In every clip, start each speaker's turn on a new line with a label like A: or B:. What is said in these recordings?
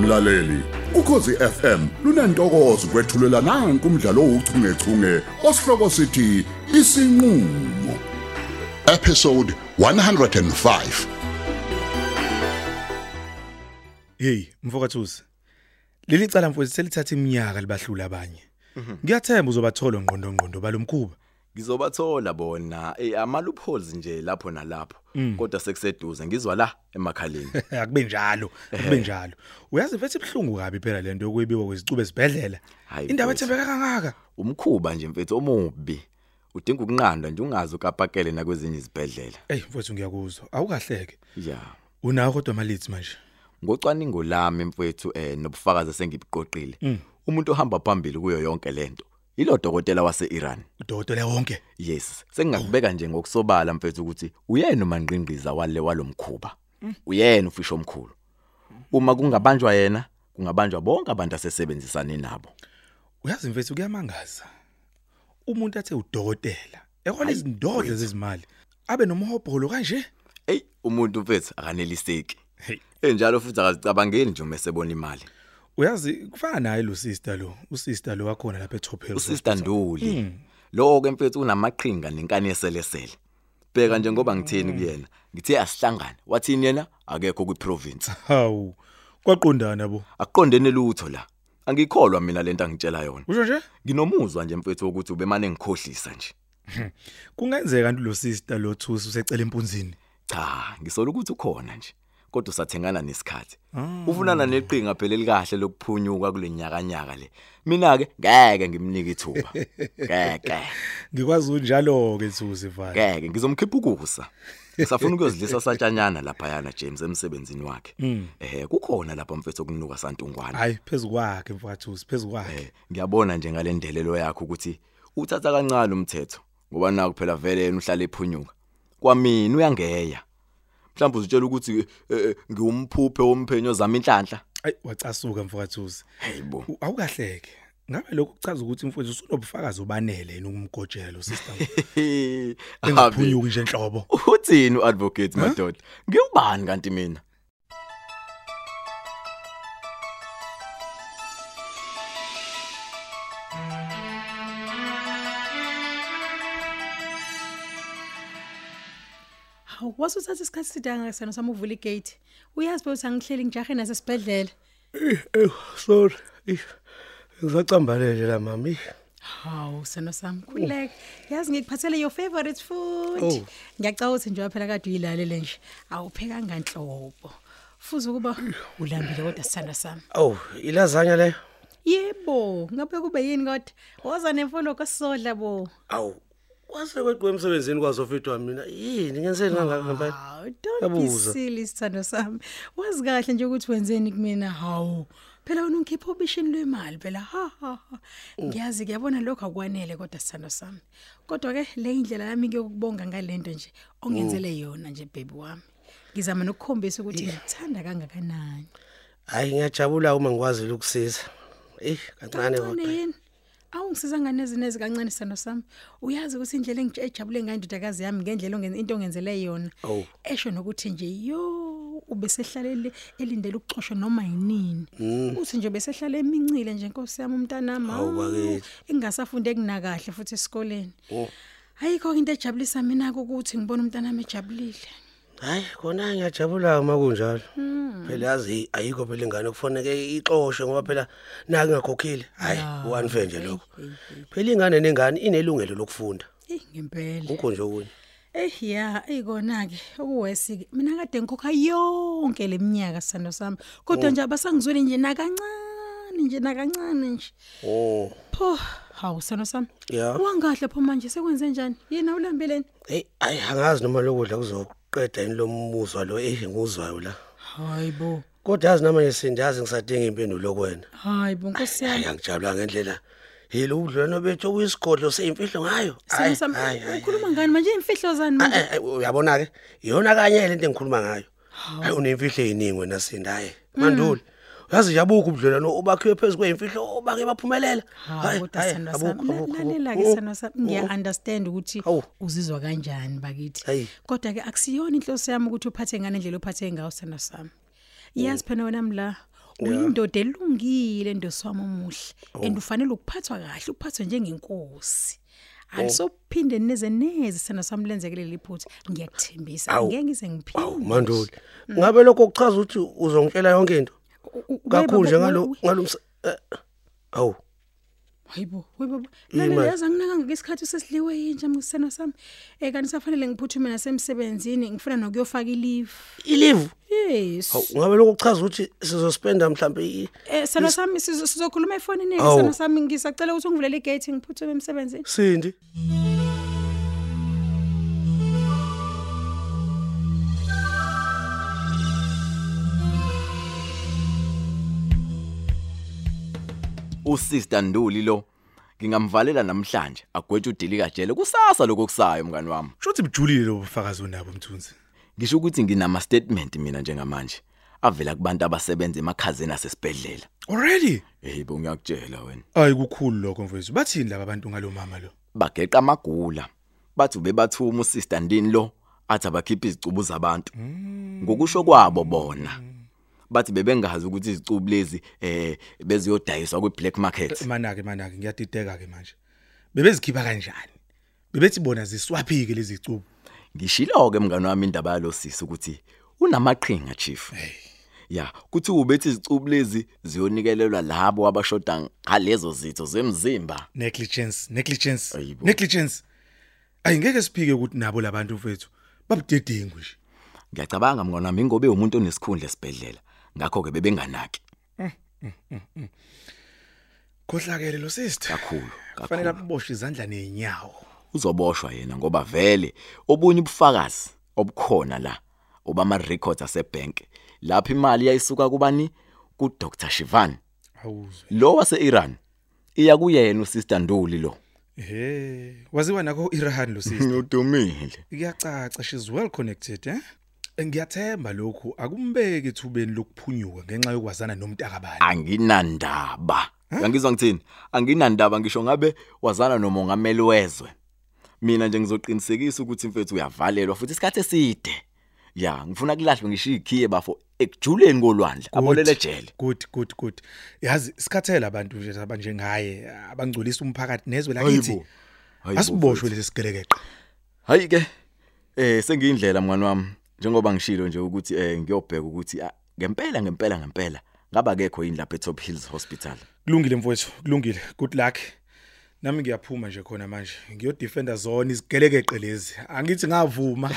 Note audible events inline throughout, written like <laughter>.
A: mlaleli ukhosi FM lunantokozo kwethulela nange kumdlalo ouchungechunge osihloko sithi isinqulo episode 105
B: Hey, mfokathusi. Leli cala mfowethu selithatha iminyaka libahlula abanye. Ngiyathemba uzobathola ngqondo ngqondo balomkhuba.
C: ngizobathola bona eh amalupoles nje lapho nalapho kodwa sekuseduze ngizwa la emakhaleni
B: Eh, Akube njalo, akube njalo. Uyazi mfethu ibhlungu kabi phela lento yokwebiwa kwezicube esibhedlela.
C: Hayi,
B: Indaba
C: mfethu.
B: ethembeka kangaka.
C: umkhuba nje mfethu omubi udinga ukunqandwa nje ungazi ukapakele nakwezinye izibhedlela
B: Ey mfowethu ngiyakuzwa. Awukahleke.
C: ya
B: Unawo kodwa amalithi manje.
C: ngocwaningo lami mfethu eh nobufakazi sengibiqoqile umuntu ohamba phambili kuyo yonke lento yilo dokotela waseIran
B: Udokotela wonke.
C: yes sengingakubeka nje ngokusobala mfethu ukuthi uyena umanqingqiza wale walomkhuba uyena ufisho omkhulu uma kungabanjwa yena kungabanjwa bonke abantu asesebenzisane nabo
B: Uyazi mfethu kuyamangaza. Umuntu athe udokotela. Ekhona izindodla zezimali. Abe nomhobholo kanje.
C: Ey umuntu mfethu akaneliseki.
B: Hey.
C: Enjalo futhi akazicabangeli nje uma sebona imali.
B: Uyazi kufana naye lo sister lo, usister lo wakhona lapha eTop Hill.
C: Usister Nduli. Lo ke Hmm. mfethu unamaqhinga nenkani yeselesele. Bheka nje ngoba ngithini kuyena. Ngithe asihlangane. Wathini yena? Akekho kwiprovince.
B: Hawu. Kwaqondana bo.
C: Akuqondene lutho la. Angikholwa mina lento angitshela yona.
B: Usho nje?
C: Nginomuzwa nje mfethu ukuthi ubemane ngikhohlisa nje.
B: Kungenzeka kanti lo sister lo Thusi usecela empunzini.
C: Cha, ngisola ukuthi ukhona nje. Kodwa usathengana nesikhathi. Ufunana neqhinga phela elikahle lokuphunyuka kulenyakanyaka le. Mina ke ngeke ngimnike ithuba. Ngeke.
B: Ngikwazi unjalo ke Thusi vale.
C: Ngeke ngizomkhipha ukusa. Ngisafuna ukuyozilisa satshanyana lapha yana James emsebenzini wakhe. Eh kukhona lapha mfethu okunuka santungwana.
B: Hayi phezukwakhe mfakathusi
C: Eh.
B: phezukwakhe.
C: Ngiyabona nje ngalendelelo yakho ukuthi uthatha kancane umthetho ngoba naku phela vele yena uhlala ephunyuka. Kwamina uyangeya. Mhlawumbe uzitshela ukuthi eh, ngiwumphuphe womphenyo zami inhlanhla.
B: Hayi wacasuka mfakathusi.
C: <laughs> Hayibo.
B: U- Awukahleke. Ngabe lokho kuchaza ukuthi mfowethu usunobufakazi obanele yena ukumgojela lo sister. lo.
C: <laughs> Abi.
B: Engaphunyuki nje enhlobo.
C: Uthini uadvocate madoda? Ngiyubani kanti mina?
D: hawu wasuthatha isikhathi sidanga sana sami uvula igate uyazi phela ukuthi angihleli ngijahe nasesibhedlela
E: sorry Eish, ngisacambalele la mami
D: hawu sana sami khululeka yazi ngikuphathele your favorite food
E: Oh.
D: ngiyacawa ukuthi njengoba phela kade uyilalele nje awuphekanga nhlobo futhi ukuba ulambile kodwa sithanda sami
E: oh ilazanya leyo
D: yebo ngabe kube yini kodwa woza nemfoloko sisodla bo
E: awu kwase kweqwe emsebenzini kwazofitwa mina yini ngenseni kangaka ngempela
D: hawu don't be
E: Yabuza.
D: silly sithando sami wazi kahle nje ukuthi wenzeni kumina hawu phela wena ungikhipha obishini lwemali phela ha ha ha. ngiyazi kuyabona lokho akwanele kodwa sithando sami kodwa-ke le indlela yami kuyokubonga ngalento nje ongenzele yona nje bhebi wami ngizama nokukhombisa ukuthi ngithanda kangakanani
E: hhayi ngiyajabula uma ngikwazile ukusiza eyi kancane
D: kancane
E: kodwa
D: yini awungisiza ngane ezine ezikancane sithando sami uyazi ukuthi indlela engitshe- ejabule ngayo indodakazi yami ngendlela ongen- into ongenzele yona
E: Oh.
D: esho nokuthi nje yo ubesehlalele elindele ukuxoshwa noma yinini uthi nje besehlale emincile nje nkosi yami umntanami
E: Hawu,
D: hawu,
E: bakithi.
D: engingakasafunde kunakahle futhi esikoleni ayikho-ke into ejabulisa mina-ke ukuthi ngibone umntanami ejabulile
E: hhayi khona ngiyajabula uma kunjalo phela yazi ayikho phela ingane kufaneke ixoshwe ngoba phela naki ngakhokhile hhayi u-unfair nje lokho phela ingane nengane inelungelo lokufunda
D: eyi ngempela
E: kukho nje okunye
D: Eh ya, ikona-ke okuwesi-ke mina kade ngikhokha yonke le minyaka sithando sami
E: Oh.
D: kodwa nje abasangizweli nje nakancane nje nakancane nje
E: o
D: pho hawu sithando sami
E: ya
D: wangahle pho manje sekwenze njani yena ulambeleni
E: Hey, ayi angazi noma lokudla kuzoqeda yini lo muzwa lo eh nguzwayo la.
D: hayi bo
E: Kodwa yazi namanje sindazi ngisadinga impendulo kwena.
D: hayi bo nkosi
E: Hayi
D: yami
E: angijabula ngendlela. Yilo udlwana bethu okuyisigodlo seyimfihlo ngayo.
D: sithando sami ukhuluma ngani manje iy'mfihlo zani manje
E: Eh, Uyabona ke, iyona kanye lento engikhuluma ngayo. Hayi unemfihlo eziningi wena Sinda hayi. Manduli. Uyazi yabukho ubudlelwano obakhiwe phezulu kweyimfihlo obake baphumelela.
D: hayi kodwa sithando sami La- lalela-ke sithando sami ngiya-understand ukuthi
E: Oh, Hawu.
D: uzizwa kanjani bakithi
E: Hayi.
D: kodwa-ke
E: Oh.
D: akusiyona inhloso yami ukuthi uphathe ngane ndlela ophathe ngayo sithando sami yazi phela wena mla uyindoda elungile ndoswami omuhle
E: Oh.
D: and ufanele ukuphathwa kahle uphathwe njengenkosi
E: Oh.
D: alisophinde neze neze sena sami lenzeke leli phutha ngiyakuthembisa
E: Awu.
D: ngeke ngize
E: Awu
D: ngiphinde
E: manduli. Ngabe lokho kuchaza ukuthi uzongitshela yonke into.
D: U- u-
E: Kakhulu
D: weba
E: nje
D: bo-
E: ngalo eh,
D: we-
E: ngalomsa. Awu.
D: Hayibo, webaba.
E: Yini manje?
D: Lana yaza nginaka ngesikhathi sesidliwe yinja mkusena sami. Eh kanti safanele ngiphuthume nasemsebenzini ngifuna nokuyofaka i-leave.
E: Ilivu.
D: Yes.
E: Awu ngabe lokho kuchaza ukuthi sizospenda mhlambe i-
D: Eh sana sami sizo- sizokhuluma efonini
E: Awu.
D: sana sami ngisacela ukuthi ungivulele igate ngiphuthume emsebenzini.
E: Sindi.
C: usister Nduli lo ngingamvalela namhlanje agwetshe udilika jele kusasa lokukusayo mngani wami
B: Shothi bujulile lo bufakazi onabo mthunzi.
C: ngisho ukuthi nginama statement mina njengamanje avela kubantu abasebenza emakhazeni asesibedlela
B: Already?
C: yebo ngiyakutshela wena
B: Ayi kukhulu lokho mfowethu. Bathini laba bantu ngalomama lo?
C: bageqa amagula bathi bebathuma usister Ndini lo athi abakhipha izicubu zabantu ngokusho kwabo bona bathi bebengazi ukuthi izicubu lezi eh beziyodayiswa kwi black market
B: Manake manake ngiyadideka ke manje. Bebezikhipha kanjani? Bebethi bona ziswaphike lezi cubo.
C: ngishilo ke mngani wami indaba yalosisi ukuthi unamaqhinga chief ya kuthi ubethi izicubu lezi ziyonikelelwa labo abashoda ngalezo zitho zemzimba
B: Negligence, negligence,
C: Ayibo.
B: negligence. Ayingeke siphike ukuthi nabo labantu mfowethu babudedengu nje.
C: ngiyacabanga mngani wami ingobe umuntu onesikhundla esibedlela ngakho ke bebenganaki
B: Khohlakele lo sister.
C: kakhulu
B: Kufanele
C: kakhulu
B: aboshwe izandla nenyawo.
C: uzoboshwa yena ngoba vele obunye ubufakazi obukhona la obama records asebank lapho imali yayisuka kubani ku Dr Shivan
B: Awuzwe.
C: lo wase Iran iya kuyena uSister Nduli lo
B: Ehhe. Waziwa nakho Irahan lo sister.
C: udumile
B: Iyacaca she's well connected eh. Ngiyathemba lokhu akumbeki ethubeni lokuphunyuka ngenxa yokwazana nomntakabani.
C: anginandaba uyangizwa ngithini anginandaba ngisho ngabe wazana nomongameli wezwe mina nje ngizoqinisekisa ukuthi mfethu uyavalelwa futhi isikhathi eside ya ngifuna kulahlwe ngisho ikhiye bafo ekujuleni kolwandle abolele ejele
B: Good good good. Yazi sikhathela abantu nje abanjengaye abangcolisa umphakathi nezwe
C: Hayibo.
B: lakithi.
C: Hayibo,
B: Asiboshwe lesi sigelekeqa.
C: hayi ke eh sengiyindlela mngani wami njengoba ngishilo nje ukuthi eh ngiyobheka ukuthi ah, ngempela ngempela ngempela ngaba kekho yini lapha eTop Hills Hospital
B: Kulungile mfowethu, kulungile. Good luck. Nami ngiyaphuma nje khona manje. Ngiyodefender zone izigelekeqe lezi. Angithi ngavuma.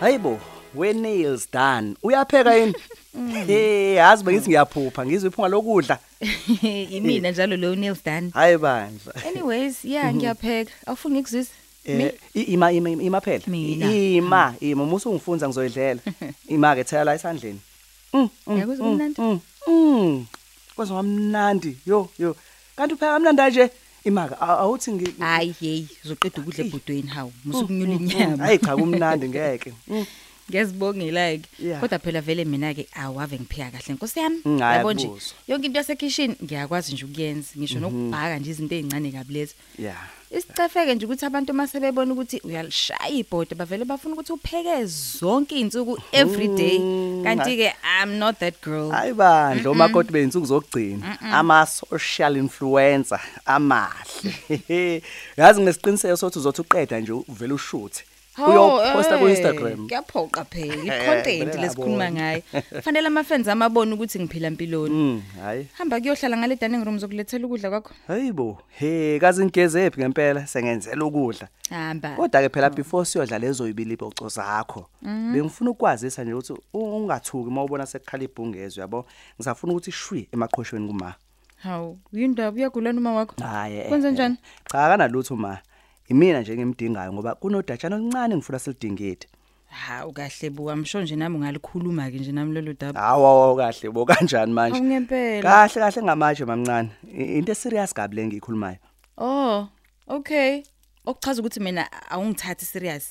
F: Hayibo, we nails done. Uyapheka yini?
G: Mm.
F: Eh, yazi bengithi ngiyaphupha, ngizwe iphunga lokudla.
G: <laughs> Imina njalo lo Neil Dan.
F: Hayi bandla.
G: Anyways, yeah ngiyapheka. Awufuni ngikuzwise?
F: Mhm. Eh, i- ima ima ima- ima phela.
G: Mina. Mm.
F: I- Ima, ima musu ungifunza
G: <laughs>
F: ngizoyidlela. Ima ke thela la esandleni. Mm. mm,
G: Yakuzwa
F: mm,
G: kumnandi?
F: mm, Mm. Kwenza ngamnandi. Yo, yo. Kanti upheka kamnandi nje. Ima ke a- awuthi ngi
G: Hayi hey, uzoqeda ukudla ebhodweni hawu. Musukunyula
F: Mm, mm, mm.
G: inyama.
F: Hayi cha kumnandi ngeke. Mm.
G: Ngiyazibongela ke.
F: Yeah.
G: Kodwa phela vele mina ke awave ngipheka kahle Nkosi yami.
F: Mm, hhayi,
G: Yabo nje
F: akubuza.
G: yonke into yasekitchen ngiyakwazi nje ukuyenza.
F: Mhm.
G: Ngisho nokubhaka nje izinto ezincane kabulethe.
F: Yeah.
G: Isicefeke nje ukuthi abantu mase bebona ukuthi uyalishaya ibhodi bavele bafuna ukuthi upheke zonke izinsuku every day.
F: Mm,
G: Kanti ke I'm not that girl.
F: Hayi bandla omakoti beyinsuku zokugcina ama social influencer amahle. <laughs> Yazi nginesiqiniseko sokuthi uzothi uqeda nje uvela ushuthe. Uyoposta ku Instagram.
G: Kuyaphoqa phela
F: Eh,
G: icontent
F: vele
G: lesikhuluma
F: ngabona.
G: ngayo. Kufanele ama fans amabone ukuthi ngiphila impiloni.
F: Mm, hayi.
G: Hamba kuyohlala ngale dining room zokulethela ukudla kwakho.
F: Hayibo. He, kaze ngigezephi ngempela sengenzela ukudla.
G: Hamba.
F: Kodwa ke phela before siyodla lezo ibilibo oco zakho. Bengifuna ukwazisa nje ukuthi u- ungathuki mawubona sekukhala ibhungezwe yabo. Ngisafuna ukuthi shwi emaqhoshweni kuma.
G: Hawu, yindaba uyagula noma wakho?
F: Hayi. eh,
G: Kwenze njani?
F: Cha kanalutho ma. Imina nje ngimdingayo ngoba kunodatshana oluncane ngifuna silidingide.
G: Hawu kahle bu, amsho nje nami ngalikhuluma ke nje nami lolu daba.
F: Hawa kahle bo kanjani manje?
G: Awu, ngempela.
F: Kahle kahle ngamaje mamncane. I- Into serious kabi le ngiyikhulumayo.
G: Oh, okay. okuchaza ukuthi mina awungithathi serious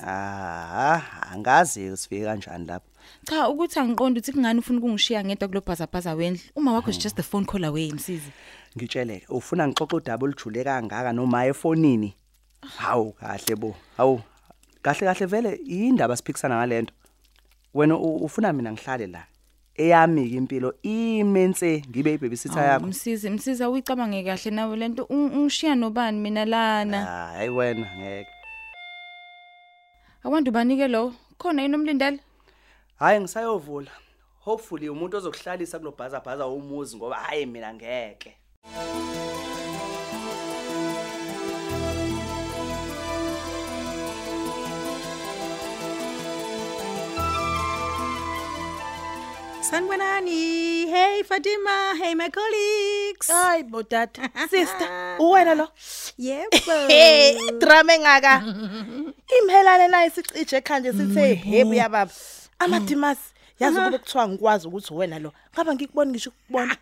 F: Ah, angazi usifike kanjani lapho.
G: cha ukuthi angiqonda ukuthi kungani ufuna ukungishiya ngedwa kulo bhazabhaza wendlu uma wakho is just a phone call away msizi
F: Ngitsheleke, ufuna ngixoxe udaba olujule kangaka noma efonini? Hawu kahle bo. Hawu. Kahle kahle vele indaba siphikisana ngalento. Wena u- ufuna mina ngihlale la. Eyami ke impilo imense ngibe ibebisitha
G: Awu,
F: yakho.
G: msizi msizi awuyicabange kahle nawe lento Ung- ungishiya nobani mina lana
F: Ah, hayi wena ngeke.
G: awanti ubanike lo khona yini umlindele
F: Hayi ngisayovula. Hopefully umuntu ozokuhlalisa kulobhaza bhaza umuzi ngoba hayi mina ngeke.
D: Sanibonani. Hey Fatima, hey my colleagues.
H: Hayi bodada. Sister, uwena lo.
G: <laughs>
D: Yebo.
H: Hey, drama engaka. Imhelane naye sicije ekhanje
D: Mm,
H: sithe
D: oh.
H: hebu yababa. Amadimas, yazi kube kuthiwa ngikwazi ukuthi uwena lo. Ngaba ngikuboni ngisho ukubona.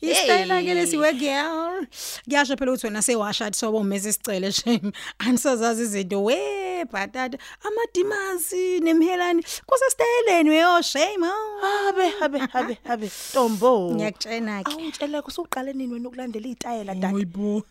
D: Isitayela ke lesiwe girl. Ngiyasho phela ukuthi wena sewashad sobo umeze sicele shame. <laughs> Angisazazi izinto we bhatata amadimasi nemhelani kusesitayeleni weyo shame. oh.
H: Habe habe habe habe Tombo.
D: Ngiyakutshena ke.
H: Awungitsheleke usuqale nini wena ukulandela izitayela
D: <laughs>
H: dad?
D: Hayibo.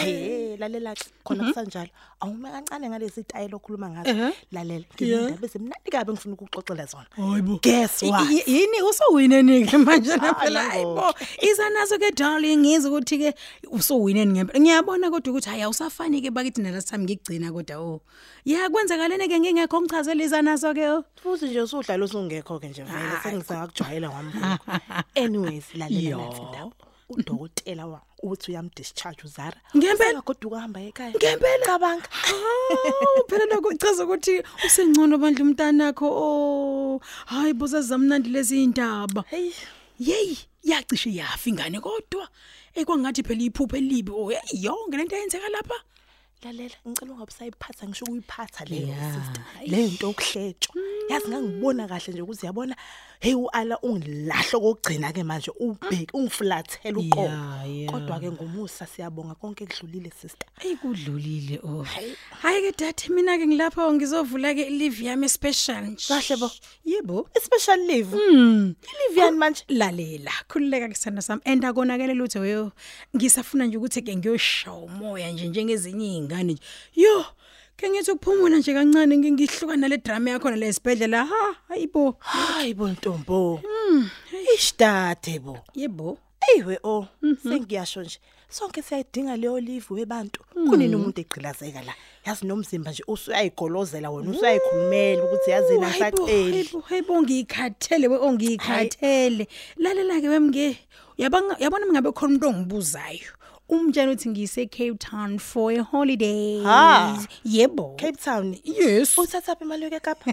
H: Hey, lalela ke khona
D: Mm-hmm.
H: kusanjalo. Awume kancane ngalezi izitayela okhuluma
D: Uh-huh.
H: ngazo. Lalela. Ngiyindaba ezimnandi kabi ngifuna ukuxoxela zona.
D: Hayibo.
H: Guess
D: I-
H: what?
D: i- yini usuwine nike manje naphela
H: nangoku.
D: hayibo izanazo ke darling ngizwe ukuthi ke usuwine ngempela ngiyabona kodwa ukuthi hayi awusafani ke bakithi nalesi time ngigcina kodwa o ya kwenzakalene ke ngingekho ngichazele izanazo ke oh. o
H: futhi nje usudlala usungekho ke nje vele
D: Ah,
H: sengisakujwayela
D: <laughs>
H: ngambuko anyways lalela nathi ndaba udokotela wa uthi uyamdischarge uzara
D: Ngempela?
H: kodwa ukuhamba ekhaya
D: Ngempela?
H: cabanga
D: Hawu, phela lokho kuchaza ukuthi usengcono bandla umntanakho o hayi boza zamnandi lezi indaba
H: hey
D: yeyi yacishe yafa ingane kodwa ekwangathi phela iphuphe libi o yeyi yonke lento eyenzeka lapha
H: lalela ngicela ungabusayiphatha ngisho ukuyiphatha leyo sister le nto okuhletshwa yazi ngangibona kahle nje ukuthi yabona hey uala ungilahlo kokugcina ke manje ubheke ungiflathela uqobo
D: ya.
H: kodwa ke ngumusa siyabonga konke kudlulile sister
D: Ey kudlulile oh. Hayi ke dad mina ke ngilapha ngizovula ke ilive yami special.
H: Kahle bo.
D: Yebo.
H: especially leave mm. leave yani manje
D: Lalela, khululeka kusana sami enda konakele lutho weyo. Ngisafuna nje ukuthi ke ngiyoshawa umoya nje njengezinye izingane nje. Yo, ke ngithi ukuphumula nje kancane ngingihluka nale drama yakho nale sibedlela. Ha, hayibo.
H: hayi bo ntombo ishtade bo
D: Yebo.
H: eyiwe o sengiyasho nje sonke siyayidinga leyo live webantu kunini umuntu egqilazeka la yazi nomzimba nje usuyayigolozela wena usuyayikhulumela ukuthi yazi
D: Oh, hayibo,
H: nasaceli
D: hayibo, Hayibo ngikhathele we oh, ongikhathele. Lalela ke wemnge. Yabanga yabona mingabe khona umuntu ongibuzayo. Umtshela uthi ngiyise Cape Town for a holiday.
H: Ha.
D: Yebo.
H: Cape Town
D: Yes. <laughs>
H: uthatha phi imali <laughs> yokekapa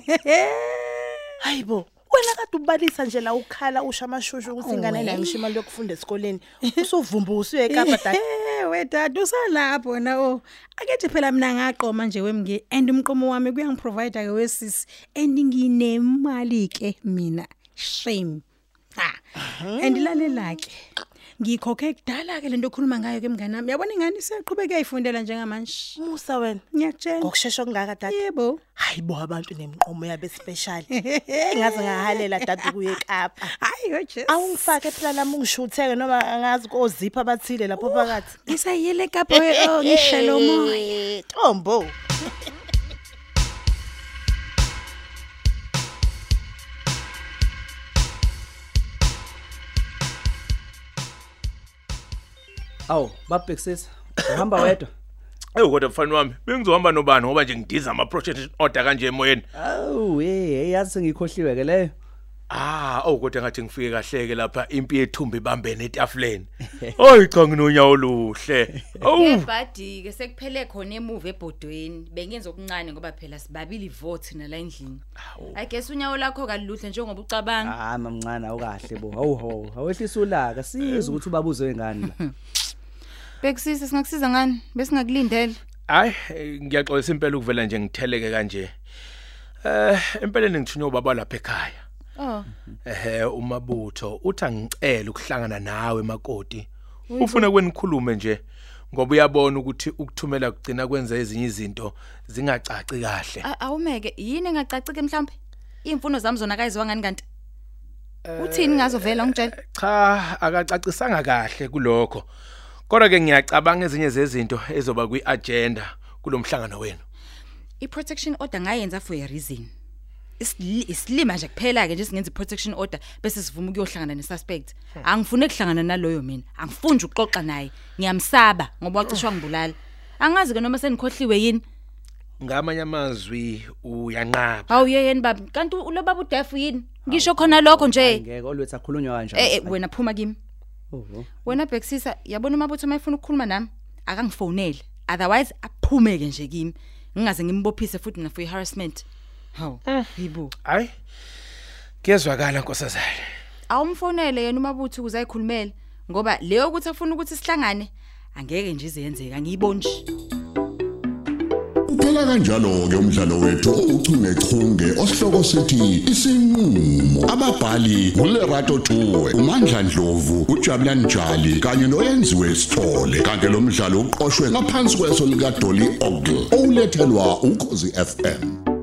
H: hayibo wena kade ubalisa nje la ukhala usho amashushu ukuthi ingane nayo ngisho imali yokufunda esikoleni usuvumba usuyekapa dad
D: Eh, we dad usalapho na o. Akethi phela mina ngaqoma nje wemnge and umqomo wami kuyangiprovide ke wesisi and nginemali ke mina. Shame. Ha. Andilalela ke. Ngikhokhe kudala ke lento okhuluma ngayo ke mngani nami. Yabona ingane isiyaqhubeka eyifundela njengamanje.
H: <laughs> musa wena
D: Ngiyakutshela.
H: ngokusheshsha okungaka dad
D: Yebo.
H: hayibo abantu nemiqomo yabe special <laughs> engaze ngahalela dadu kuye eKapa
D: Hayi yo Jesus.
H: awungifake phela lami ungishutheke noma angazi kozipha abathile lapho phakathi
D: Isayele <laughs> kapho oh ngishelo moya.
H: Eh, tombo
F: Awu, babhekisisa. Uhamba wedwa.
I: Ewu kodwa mfana wami, bengizohamba nobani ngoba nje ngidiza ama project order kanje emoyeni.
F: Awu, hey, yazi ngikhohliwe ke leyo.
I: Ah, oh kodwa ngathi ngifike kahleke lapha impi yethumba ibambene etafuleni. <laughs> Oyi cha nginonyawo oluhle. Awu.
G: ebhadi ke sekuphele khona emuva ebhodweni bengenza okuncane ngoba phela sibabili vote nala endlini i guess unyawo lakho kaluhle njengoba ucabanga
F: Ah, mamncane awukahle bo. Hawu ho, awehlisa ulaka. Sizwe ukuthi ubabuzwe ngani <laughs> la.
G: bekusisa singakusiza ngani besingakulindele
I: Hayi, ngiyaxolisa impela ukuvela nje ngitheleke kanje. Eh, empeleni ngithunywa ubaba lapha ekhaya.
G: oh
I: Ehhe umabutho uthi angicela ukuhlangana nawe makoti. Ufuna kwenikhulume nje
E: ngoba uyabona ukuthi ukuthumela kugcina kwenza ezinye izinto zingacaci kahle
G: A- awumeke yini engacacike mhlambe imfuno zami zona akayiziwa ngani kanti uthini ngazo vela ungitshela
E: cha akacacisanga kahle kulokho kodwa ke ngiyacabanga ezinye zezinto ezoba kwi-agenda kulomhlangano wenu
G: i-protection order ngayenza for a reason Isili- isilima nje kuphela ke nje singenza i-protection order bese sivuma ukuyohlangana ne-suspect angifuni ukuhlangana naloyo mina angifuni nje ukuxoxa naye ngiyamsaba ngoba wacishwa ngibulala angazi ke noma senikhohliwe yini
E: ngamanye amazwi uyanqaba
G: hawu yeyeni baba kanti u- lo baba udefu yini ngisho khona lokho nje
F: ngeke olwethu akhulunywa kanjani
G: Eh, eh wena phuma kimi
F: Oho.
G: wena bhekisisa yabona umabutho mayefuna ukukhuluma nami akangifonele otherwise aphumeke nje kimi ngingaze ngimbophise futhi mina for i-harassment hawu yibo
E: hayi kuyezwakala nkosazana
G: awumfonele yena umabutho ukuze ayikhulumele ngoba leyo ukuthi afuna ukuthi sihlangane angeke nje izeyenzeka ngiyiboni nje
A: Uphela kanjalo ke umdlalo wethu ouchungechunge osihloko sithi isinqulo. Ababhali uLerato Tuwe, uMandla Dlovu, uJabulani Njali kanye noyenziwe Sithole. Kanti lo mdlalo uqoqwwe ngaphansi kweso lika Dolly Ogle. Olethelwa ukozi FM.